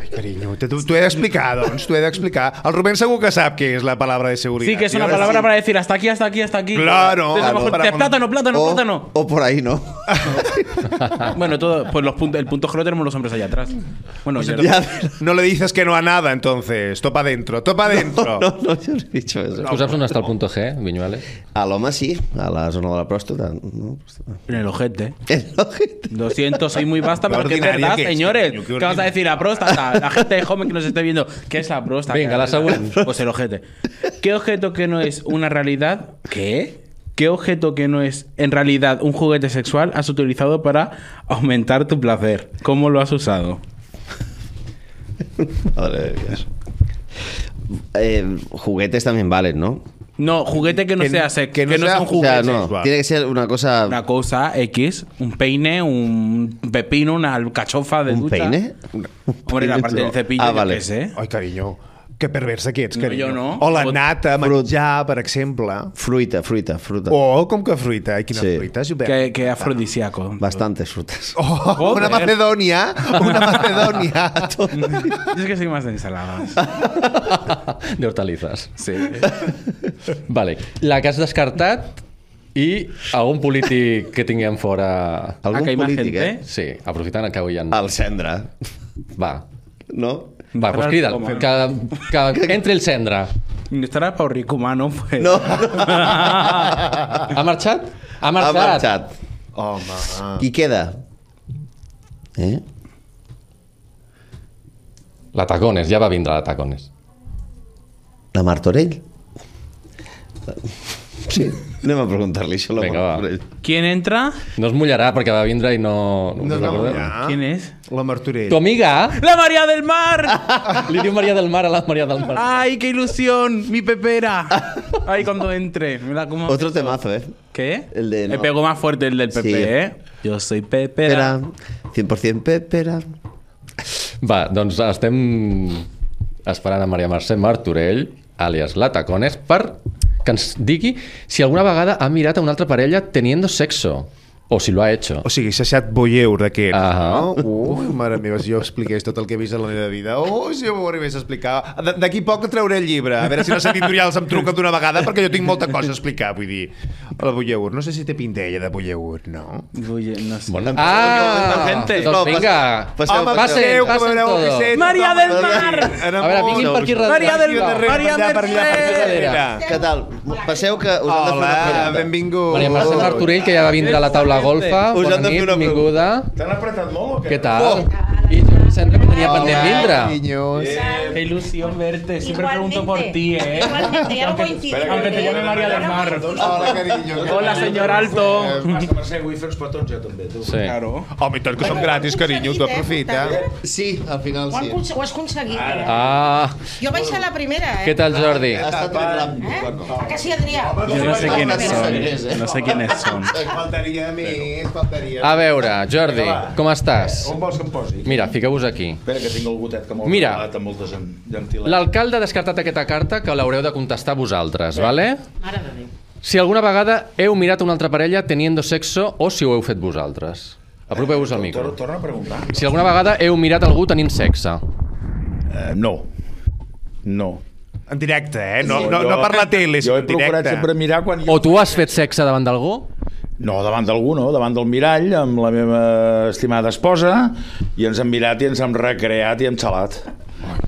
[SPEAKER 10] Ai, carinyo, t'ho t'ho he d'explicar, doncs, t'ho he d'explicar. El Rubén segur que sap què és la palabra de seguretat.
[SPEAKER 8] Sí, que es
[SPEAKER 10] I
[SPEAKER 8] una
[SPEAKER 10] ara
[SPEAKER 8] palabra
[SPEAKER 10] sí.
[SPEAKER 8] para decir hasta aquí, hasta aquí, hasta aquí.
[SPEAKER 10] Claro,
[SPEAKER 8] Entonces, a lo
[SPEAKER 10] claro,
[SPEAKER 8] mejor
[SPEAKER 10] para
[SPEAKER 8] te-
[SPEAKER 10] cuando-
[SPEAKER 8] plátano,
[SPEAKER 10] Oh.
[SPEAKER 8] plátano,
[SPEAKER 6] O,
[SPEAKER 8] plátano.
[SPEAKER 6] o por ahí no.
[SPEAKER 8] Bueno, todo, pues los puntos, el punto que lo tenemos los hombres allá atrás. Bueno,
[SPEAKER 10] Pues
[SPEAKER 8] ya-
[SPEAKER 6] Ya,
[SPEAKER 10] No le dices que no a nada, entonces. Topa adentro, topa adentro.
[SPEAKER 6] no, no, yo no he dicho eso.
[SPEAKER 11] Tu saps on està el punto G, Viñuales?
[SPEAKER 6] A l'home sí, a la zona de la pròstata. No?
[SPEAKER 8] en el ojete.
[SPEAKER 6] El ojete.
[SPEAKER 8] Lo siento, soy muy vasta,
[SPEAKER 10] La
[SPEAKER 8] pero que es
[SPEAKER 10] ordinaria
[SPEAKER 8] verdad,
[SPEAKER 10] que es,
[SPEAKER 8] señores.
[SPEAKER 10] coño, qué
[SPEAKER 8] ¿Qué vas a
[SPEAKER 10] ordinaria.
[SPEAKER 8] decir? La próstata. La gente joven que nos esté viendo. ¿Qué es la próstata?
[SPEAKER 11] Venga, la següent.
[SPEAKER 8] Pues el ojete. ¿Qué objeto que no es una realidad? ¿Qué? ¿Qué objeto que no es en realidad un juguete sexual has utilizado para aumentar tu placer? ¿Cómo lo has usado?
[SPEAKER 6] Madre de Dios. Eh, juguetes también valen, ¿no?
[SPEAKER 8] No, juguete que no
[SPEAKER 10] Que no-
[SPEAKER 8] sea sexo.
[SPEAKER 10] que
[SPEAKER 8] Que
[SPEAKER 10] no
[SPEAKER 8] no,
[SPEAKER 10] sea
[SPEAKER 8] sea un
[SPEAKER 10] ju-
[SPEAKER 6] O
[SPEAKER 8] juguete.
[SPEAKER 6] sea, no,
[SPEAKER 10] Juguetes,
[SPEAKER 6] tiene que ser una cosa...
[SPEAKER 8] Una cosa X, un peine, un pepino, una alcachofa de
[SPEAKER 6] ¿Un
[SPEAKER 8] ducha.
[SPEAKER 6] peine?
[SPEAKER 8] Hombre, la parte del cepillo,
[SPEAKER 6] Ah,
[SPEAKER 8] yo
[SPEAKER 6] vale.
[SPEAKER 8] qué sé.
[SPEAKER 10] Ai, carinyo, que perversa que ets,
[SPEAKER 8] No,
[SPEAKER 10] carinyo.
[SPEAKER 8] jo no.
[SPEAKER 10] O la
[SPEAKER 8] O-
[SPEAKER 10] nata, menjar, per exemple.
[SPEAKER 6] Fruita, fruita, fruta.
[SPEAKER 10] O com que fruita, ai, quina
[SPEAKER 6] Sí.
[SPEAKER 10] fruita, Josep.
[SPEAKER 8] Que,
[SPEAKER 6] Ah.
[SPEAKER 8] eh? que afrodisíaco.
[SPEAKER 6] Bastantes frutas.
[SPEAKER 10] Oh, una
[SPEAKER 8] Joder.
[SPEAKER 10] Macedonia, una Macedonia.
[SPEAKER 8] Yo es que soy más de ensaladas. Eh,
[SPEAKER 11] De hortalitzes.
[SPEAKER 8] Sí.
[SPEAKER 11] Vale. La que has descartat i algun polític que tinguem fora...
[SPEAKER 6] Algun
[SPEAKER 8] Ah, que hi ha
[SPEAKER 6] polític,
[SPEAKER 8] gente?
[SPEAKER 6] eh?
[SPEAKER 11] Sí, aprofitant que avui hi ha...
[SPEAKER 6] El cendra,
[SPEAKER 11] Va.
[SPEAKER 6] no?
[SPEAKER 11] Va, doncs crida, que, que entri el cendra.
[SPEAKER 8] Estará para rico humano, pues.
[SPEAKER 6] No.
[SPEAKER 11] Ha marxat? Ha
[SPEAKER 6] Ha
[SPEAKER 11] marxat.
[SPEAKER 6] marxat.
[SPEAKER 10] Home,
[SPEAKER 6] Qui queda? Eh?
[SPEAKER 11] La Tacones, ja va vindre la Tacones.
[SPEAKER 6] La Martorell? Sí, anem a preguntar-li això a la
[SPEAKER 11] Vinga, va.
[SPEAKER 6] Martorell.
[SPEAKER 8] ¿Quién entra?
[SPEAKER 11] No es mullarà perquè va vindre i no... no, us
[SPEAKER 10] no, no,
[SPEAKER 11] recordeu?
[SPEAKER 6] Ah.
[SPEAKER 10] ja.
[SPEAKER 8] ¿Quién es?
[SPEAKER 10] La Martorell.
[SPEAKER 11] Tu amiga
[SPEAKER 8] ¡La María del Mar!
[SPEAKER 11] li diu Maria del Mar a la Maria del Mar.
[SPEAKER 8] ¡Ay, qué ilusión! ¡Mi pepera! ¡Ay, cuando entre! Me la como.
[SPEAKER 6] Otro temazo, eh?
[SPEAKER 8] ¿Qué?
[SPEAKER 6] El de-
[SPEAKER 8] Me
[SPEAKER 6] no.
[SPEAKER 8] pegó más fuerte el del Pepe,
[SPEAKER 6] Sí.
[SPEAKER 8] ¿eh? Yo soy
[SPEAKER 6] Pera,
[SPEAKER 8] pepera.
[SPEAKER 6] 100% pepera.
[SPEAKER 11] Va, doncs estem esperant a Maria Mercè Martorell, àlies La Tacones, per que ens digui si alguna vegada ha mirat a una altra parella teniendo sexo, o si lo ha hecho.
[SPEAKER 10] O sigui, 68 eur d'aquests,
[SPEAKER 11] Ahà.
[SPEAKER 10] no? Ui, mare meva, si jo expliqués tot el que he vist a la meva vida. Oh, si jo ho arribés a explicar. D- D'aquí poc trauré el llibre. A veure si les editorials em truquen d'una vegada, perquè jo tinc molta cosa a explicar, vull dir. La Bulleur, no sé si té pinta ella de Bulleur, no?
[SPEAKER 8] Oye, no sé.
[SPEAKER 11] Bona
[SPEAKER 8] jo,
[SPEAKER 11] ah,
[SPEAKER 8] gente.
[SPEAKER 11] doncs
[SPEAKER 6] No,
[SPEAKER 11] vinga.
[SPEAKER 6] passeu,
[SPEAKER 11] Home,
[SPEAKER 6] passeu.
[SPEAKER 11] passeu,
[SPEAKER 10] que
[SPEAKER 11] passen
[SPEAKER 10] veureu que
[SPEAKER 11] todo.
[SPEAKER 10] sé-
[SPEAKER 8] Maria del Mar!
[SPEAKER 10] Ara
[SPEAKER 11] A veure,
[SPEAKER 10] molt.
[SPEAKER 11] vinguin per aquí darrere.
[SPEAKER 8] Maria del
[SPEAKER 10] Aquí
[SPEAKER 8] Mar!
[SPEAKER 10] darrere,
[SPEAKER 8] Maria
[SPEAKER 10] per allà, per allà, per allà,
[SPEAKER 8] del
[SPEAKER 11] darrere.
[SPEAKER 8] Mar!
[SPEAKER 6] Què tal? Passeu que us han de fer una
[SPEAKER 10] Hola,
[SPEAKER 6] pregunta.
[SPEAKER 10] benvingut.
[SPEAKER 11] Maria Mercè Martorell, que ja va vindre a la taula golfa.
[SPEAKER 6] Oh. Us
[SPEAKER 11] Bona
[SPEAKER 6] han de fer
[SPEAKER 11] nit,
[SPEAKER 6] una Oh.
[SPEAKER 11] benvinguda.
[SPEAKER 10] T'han apretat molt o Oh.
[SPEAKER 11] Què tal? I Jordi Sendra, que tenia pendent vindre.
[SPEAKER 10] Niños.
[SPEAKER 8] Qué ilusión verte. Siempre
[SPEAKER 5] Igualmente.
[SPEAKER 8] pregunto por ti, ¿eh?
[SPEAKER 5] Igualmente, ya no
[SPEAKER 8] Aunque-
[SPEAKER 5] coincidimos,
[SPEAKER 8] Aunque te
[SPEAKER 5] ¿eh?
[SPEAKER 8] llame María del Mar.
[SPEAKER 10] Hola, carinyo.
[SPEAKER 8] Hola, senyor Alto.
[SPEAKER 11] Sí.
[SPEAKER 8] Claro.
[SPEAKER 10] Home, i tant que són gratis, carinyo, tu aprofita.
[SPEAKER 6] Sí, al final
[SPEAKER 5] Ho, han,
[SPEAKER 6] sí.
[SPEAKER 5] conse- ho has aconseguit, eh?
[SPEAKER 11] Ah,
[SPEAKER 5] Jo vaig ser la primera, eh?
[SPEAKER 11] què tal, Jordi?
[SPEAKER 6] Ha estat un gran... bueno.
[SPEAKER 1] Eh?
[SPEAKER 5] A que sí, Adrià?
[SPEAKER 8] Yo no sé quiénes
[SPEAKER 6] Mercedes, ¿eh?
[SPEAKER 8] son. No sé quiénes son.
[SPEAKER 1] Eh,
[SPEAKER 10] Faltaria més, faltaria
[SPEAKER 11] A veure, Jordi, com estàs?
[SPEAKER 1] vols que em posi?
[SPEAKER 11] Mira, fiqueu-vos aquí.
[SPEAKER 1] Espera, que tinc el gotet que m'ho ha
[SPEAKER 11] Mira.
[SPEAKER 1] regalat amb moltes en- llentilles.
[SPEAKER 11] L'alcalde ha descartat aquesta carta que l'haureu de contestar vosaltres, vale?
[SPEAKER 5] Mare de Déu.
[SPEAKER 11] Si alguna vegada heu mirat una altra parella teniendo sexo o si ho heu fet vosaltres. Apropeu-vos al micro.
[SPEAKER 1] Tor- Torna Eh, a preguntar.
[SPEAKER 11] Si alguna vegada heu mirat algú tenint sexe.
[SPEAKER 1] Eh, no. No.
[SPEAKER 10] En directe, eh? No,
[SPEAKER 1] Jo-
[SPEAKER 10] no, no per la tele,
[SPEAKER 1] Jo
[SPEAKER 10] sinó
[SPEAKER 1] he
[SPEAKER 10] en
[SPEAKER 1] procurat
[SPEAKER 10] directe.
[SPEAKER 1] sempre mirar quan...
[SPEAKER 11] O tu has fet sexe davant d'algú?
[SPEAKER 1] No, davant d'algú, no, davant del mirall, amb la meva estimada esposa, i ens hem mirat i ens hem recreat i hem xalat.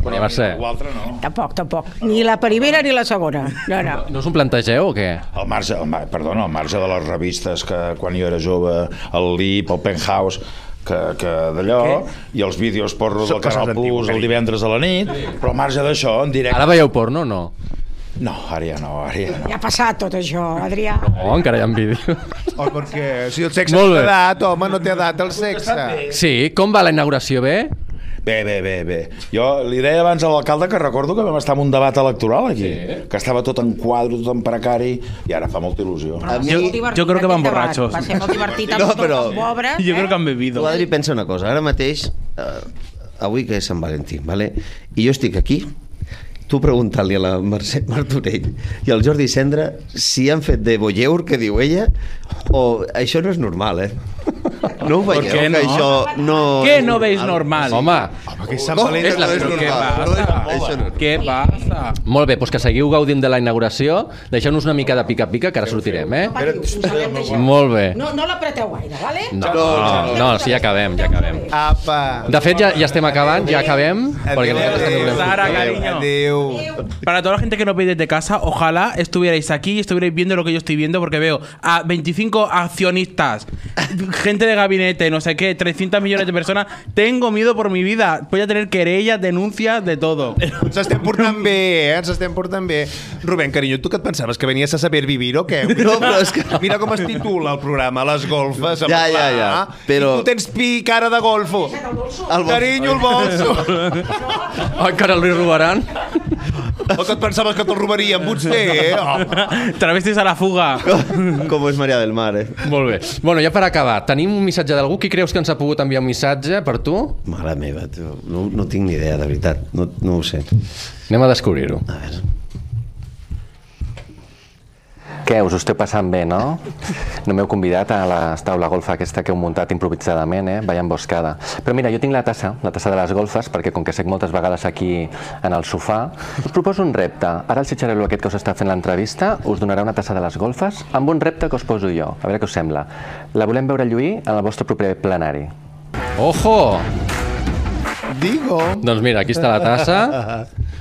[SPEAKER 11] Maria Mercè,
[SPEAKER 1] L'altre no.
[SPEAKER 12] Tampoc, tampoc. Ni la primera ni la segona. No, no.
[SPEAKER 11] no us ho plantegeu o què?
[SPEAKER 1] Al marge, al, mar- perdona, al marge de les revistes que quan jo era jove, el Lip, el Penthouse, que, que d'allò, i els vídeos porno del
[SPEAKER 11] Són coses
[SPEAKER 1] Canal
[SPEAKER 11] antigues,
[SPEAKER 1] Plus el
[SPEAKER 11] carinyo.
[SPEAKER 1] divendres a la nit, però al marge d'això, en directe...
[SPEAKER 11] Ara veieu porno o no?
[SPEAKER 1] No, ara ja no, ara ja no.
[SPEAKER 12] Ja ha passat tot això, Adrià.
[SPEAKER 11] Oh, encara hi ha en vídeo.
[SPEAKER 10] O Oh, perquè si el sexe
[SPEAKER 11] Molt
[SPEAKER 10] no té
[SPEAKER 11] bé.
[SPEAKER 10] edat, home, no té edat el sexe.
[SPEAKER 11] Sí, com va la inauguració, bé?
[SPEAKER 1] Bé, bé, bé, bé. Jo li deia abans a l'alcalde que recordo que vam estar en un debat electoral aquí, sí. que estava tot en quadro, tot en precari, i ara fa molta il·lusió.
[SPEAKER 5] Però va ser molt divertit
[SPEAKER 1] crec que van
[SPEAKER 5] aquest debat.
[SPEAKER 1] borratxos.
[SPEAKER 5] Va ser molt divertit amb no, però... tots els pobres. eh?
[SPEAKER 1] que han bebido.
[SPEAKER 6] L'Adri pensa una cosa, ara mateix, eh, avui que és Sant Valentí, vale? i jo estic aquí, tu preguntant-li a la Mercè Martorell i al Jordi Cendra si han fet de voyeur, que diu ella, o això no és normal, eh? No ho
[SPEAKER 8] Per
[SPEAKER 6] veieu,
[SPEAKER 8] què
[SPEAKER 6] que
[SPEAKER 8] no?
[SPEAKER 6] això no...
[SPEAKER 8] Què
[SPEAKER 6] és
[SPEAKER 8] no veus normal? Home,
[SPEAKER 6] que Sant Valentí
[SPEAKER 8] és la-
[SPEAKER 6] no és
[SPEAKER 8] però què
[SPEAKER 6] normal, no és
[SPEAKER 8] passa? Què passa?
[SPEAKER 11] Molt bé, doncs que seguiu gaudint de la inauguració. Deixeu-nos una mica de pica-pica, que ara sortirem, eh? Molt bé.
[SPEAKER 5] No, no l'apreteu gaire, vale?
[SPEAKER 11] No, no, no, sí, ja acabem, ja acabem.
[SPEAKER 10] Apa.
[SPEAKER 11] De fet, ja, ja estem acabant, ja acabem. Perquè no
[SPEAKER 8] Sara, cariño. Para toda la gente que no veis desde casa, ojalá estuvierais aquí y estuvierais viendo lo que yo estoy viendo, porque veo a 25 accionistas, gente de gabinete, no sé qué, 300 millones de personas. Tengo miedo por mi vida. Voy a tener querellas, denuncias, de todo.
[SPEAKER 10] Ens estem portant bé, eh? Ens estem portant bé. Rubén, carinyo, tu que et pensaves? Que venies a saber vivir o què?
[SPEAKER 6] No, però és que...
[SPEAKER 10] Mira com es titula el programa, les golfes. amb
[SPEAKER 6] Ja,
[SPEAKER 10] el
[SPEAKER 6] ja,
[SPEAKER 10] pla,
[SPEAKER 6] ja,
[SPEAKER 10] eh?
[SPEAKER 6] però-
[SPEAKER 10] I tu tens pi cara de golfo. El bolso. Carinyo, el bolso.
[SPEAKER 11] Oh, Encara li robaran.
[SPEAKER 10] o que et pensaves que te'l robarien, potser, eh? Home.
[SPEAKER 8] Travestis a la fuga.
[SPEAKER 6] Com és Maria del Mar, eh?
[SPEAKER 11] Molt bé. Bueno, ja per acabar, tenim un missatge d'algú? Qui creus que ens ha pogut enviar un missatge per tu?
[SPEAKER 6] Mare meva, tu, no, no tinc ni idea, de veritat. No, no ho sé.
[SPEAKER 11] Anem a descobrir-ho.
[SPEAKER 6] A veure.
[SPEAKER 2] Què, us ho esteu passant bé, no? No m'heu convidat a la taula golfa aquesta que heu muntat improvisadament, eh? Vaya emboscada. Però mira, jo tinc la tassa, la tassa de les golfes, perquè com que sec moltes vegades aquí en el sofà, us proposo un repte. Ara el xitxarelo aquest que us està fent l'entrevista us donarà una tassa de les golfes amb un repte que us poso jo. A veure què us sembla. La volem veure lluir en el vostre proper plenari.
[SPEAKER 11] Ojo!
[SPEAKER 10] Digo.
[SPEAKER 11] Doncs mira, aquí està la tassa.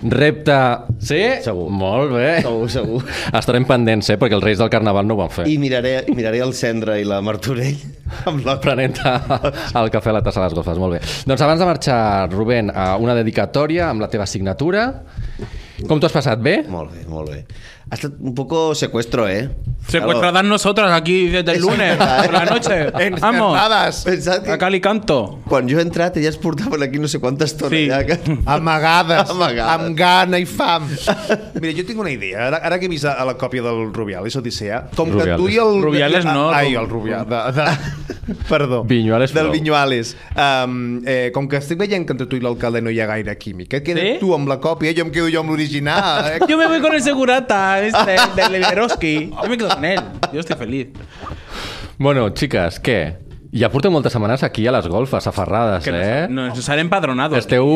[SPEAKER 11] Repte... Sí? Segur. Molt bé.
[SPEAKER 6] Segur, segur.
[SPEAKER 11] Estarem pendents, eh? Perquè els Reis del Carnaval no ho van fer.
[SPEAKER 6] I miraré, i miraré el Cendra i la Martorell amb la...
[SPEAKER 11] Prenent el cafè a la tassa a les golfes, molt bé. Doncs abans de marxar, Rubén, a una dedicatòria amb la teva signatura. Com t'ho has passat, bé?
[SPEAKER 6] Molt bé, molt bé. Ha estat un poco secuestro, eh?
[SPEAKER 8] Secuestradas nosotras aquí desde el lunes por
[SPEAKER 10] ¿eh?
[SPEAKER 8] la noche. Vamos.
[SPEAKER 6] Pensad que...
[SPEAKER 8] A cal i canto.
[SPEAKER 6] Quan jo he entrat, elles portaven aquí no sé quanta estona. Sí. Ja, que...
[SPEAKER 10] Amagades,
[SPEAKER 6] Amagades.
[SPEAKER 10] amb gana i fam. Mira, jo tinc una idea. Ara, ara que he vist a, a la còpia del Rubiales, Odissea, com que tu i el... Ah,
[SPEAKER 8] Rubiales no.
[SPEAKER 10] Ai, el Rubiales. De, de, perdó. Vinyuales. Del
[SPEAKER 8] prou.
[SPEAKER 10] Vinyuales. Um, eh, com que estic veient que entre tu i l'alcalde no hi ha gaire química, et quedes
[SPEAKER 8] Sí?
[SPEAKER 10] tu amb la còpia, jo em quedo jo amb l'original. Eh?
[SPEAKER 8] Yo me voy con el segurata, este, del Liberoski. Yo me quedo con él. Yo estoy feliz.
[SPEAKER 11] Bueno, xiques, què? Ja porteu moltes setmanes aquí a les golfes, aferrades,
[SPEAKER 8] Que
[SPEAKER 11] eh?
[SPEAKER 8] nos, nos sale empadronado.
[SPEAKER 2] Este,
[SPEAKER 11] Esteu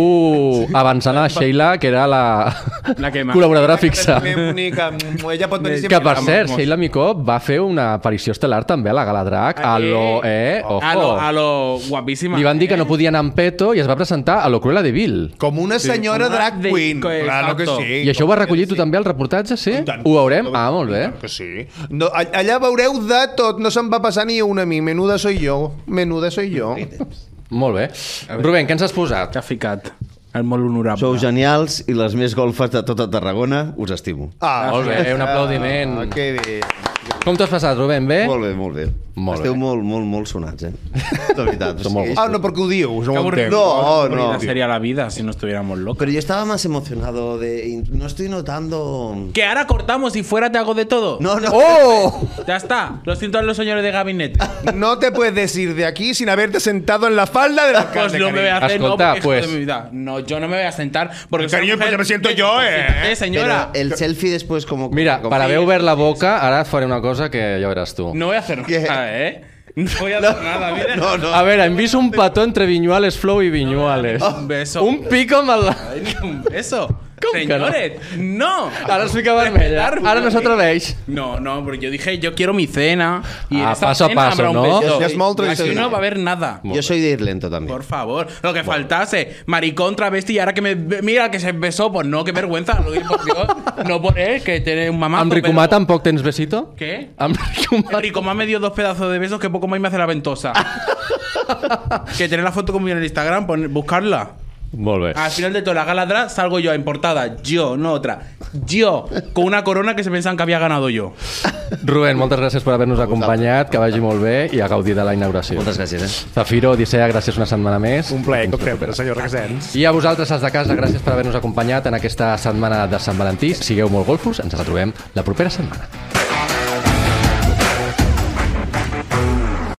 [SPEAKER 11] avançant a la Sheila, que era la,
[SPEAKER 8] La que más.
[SPEAKER 11] col·laboradora fixa.
[SPEAKER 10] Bonica, mm, ella pot venir
[SPEAKER 11] Que, per
[SPEAKER 10] amb-
[SPEAKER 11] cert,
[SPEAKER 10] amb-
[SPEAKER 11] Sheila Micó va fer una aparició estel·lar també a la Gala Drac. A lo, eh? Ojo.
[SPEAKER 8] A lo, a lo guapísima. Eh,
[SPEAKER 11] Li van dir que no podia anar amb peto i es va presentar a lo Cruella de Vil.
[SPEAKER 10] Com una
[SPEAKER 8] Sí,
[SPEAKER 10] senyora
[SPEAKER 8] com una
[SPEAKER 10] drag
[SPEAKER 8] de-
[SPEAKER 10] queen.
[SPEAKER 8] que-
[SPEAKER 10] Claro que
[SPEAKER 8] exacto.
[SPEAKER 10] sí.
[SPEAKER 11] I això ho vas recollir tu també al reportatge, sí? Ho veurem? Ah, molt bé.
[SPEAKER 10] Que sí. No, all- allà veureu de tot, no se'n va passar ni una a mi. Menuda soy yo, menuda soy yo.
[SPEAKER 11] Molt bé. Rubén, què ens has posat?
[SPEAKER 8] Que ha ficat. El molt honorable.
[SPEAKER 6] Sou genials i les més golfes de tota Tarragona. Us estimo.
[SPEAKER 10] Ah,
[SPEAKER 11] Molt bé, Eh, un aplaudiment.
[SPEAKER 10] Ah, que bé.
[SPEAKER 11] Com t'has passat, Rubén? Bé?
[SPEAKER 6] Molt bé, molt bé.
[SPEAKER 11] Molt
[SPEAKER 6] Esteu
[SPEAKER 11] bé.
[SPEAKER 6] molt, molt, molt sonats, eh? De veritat. o sigui,
[SPEAKER 10] Ah, no, perquè ho dius, no ho entenc.
[SPEAKER 6] No,
[SPEAKER 8] Aburrida
[SPEAKER 6] no.
[SPEAKER 8] sería la vida si no estuviéramos locos.
[SPEAKER 6] Pero yo estaba más emocionado de... No estoy notando...
[SPEAKER 8] Que ahora cortamos y fuera te hago de todo.
[SPEAKER 6] No, no.
[SPEAKER 11] ¡Oh!
[SPEAKER 8] Ya está. Lo siento a los señores de gabinete.
[SPEAKER 10] No te puedes ir de aquí sin haberte sentado en la falda del alcalde.
[SPEAKER 8] Pues no me voy a
[SPEAKER 10] cariño.
[SPEAKER 8] hacer, no,
[SPEAKER 11] Escolta,
[SPEAKER 8] porque es joder
[SPEAKER 11] pues.
[SPEAKER 8] mi vida. No, yo no me voy a sentar porque. soy
[SPEAKER 10] Cariño,
[SPEAKER 8] mujer.
[SPEAKER 10] pues ya me siento yo, eh.
[SPEAKER 8] Eh, señora.
[SPEAKER 6] Pero el selfie después como...
[SPEAKER 11] Mira,
[SPEAKER 6] como-
[SPEAKER 11] per haver obert la boca, ara et faré una cosa que ja veràs tu.
[SPEAKER 8] No voy a hacer nada, eh. No voy a hacer nada, mira.
[SPEAKER 6] No, no.
[SPEAKER 11] A veure, hem vist un
[SPEAKER 8] Oh.
[SPEAKER 11] petó entre Vinyuales Flow i Vinyuales.
[SPEAKER 8] Un beso.
[SPEAKER 11] Un pico amb el...
[SPEAKER 8] Ay, Un beso.
[SPEAKER 2] Com que no?
[SPEAKER 8] Señores, no.
[SPEAKER 2] Ara es fica
[SPEAKER 11] eh?
[SPEAKER 2] vermella. Ara no s'atreveix.
[SPEAKER 8] No, no, porque yo dije, yo quiero mi cena. Y en
[SPEAKER 2] Ah,
[SPEAKER 8] esta
[SPEAKER 2] paso a
[SPEAKER 8] cena
[SPEAKER 2] paso,
[SPEAKER 8] habrá un
[SPEAKER 2] ¿no?
[SPEAKER 8] beso.
[SPEAKER 2] Ya es muy
[SPEAKER 8] Aquí
[SPEAKER 2] tradicional.
[SPEAKER 8] no va a haber nada.
[SPEAKER 6] Yo soy de ir lento también.
[SPEAKER 8] Por favor, lo que faltase. Maricón, travesti, y ahora que me. Mira, que se besó, pues no, qué vergüenza. Lo digo, por Dios. no por él, que tiene un mamazo.
[SPEAKER 2] Amb Ricomà tampoc tens besito?
[SPEAKER 8] pero- ¿Qué?
[SPEAKER 2] Amb
[SPEAKER 8] El Ricomá me dio dos pedazos de besos que poco más me hace la ventosa. que tener la foto conmigo en el Instagram, pon- buscarla.
[SPEAKER 2] Molt bé.
[SPEAKER 8] Al final de toda la gala atrás salgo yo en portada. Yo, no otra. Yo, con una corona que se pensaban que había ganado yo.
[SPEAKER 2] Rubén, moltes gràcies per haver-nos acompanyat, que vagi molt bé i a gaudir de la inauguració. Moltes
[SPEAKER 6] gràcies. Eh?
[SPEAKER 2] Zafiro, Odissea, gràcies una setmana més. Un
[SPEAKER 13] plaer, com sempre, senyor Requesens.
[SPEAKER 2] I a vosaltres, els de casa, gràcies per haver-nos acompanyat en aquesta setmana de Sant Valentí. Sigueu molt golfos, ens retrobem la propera setmana.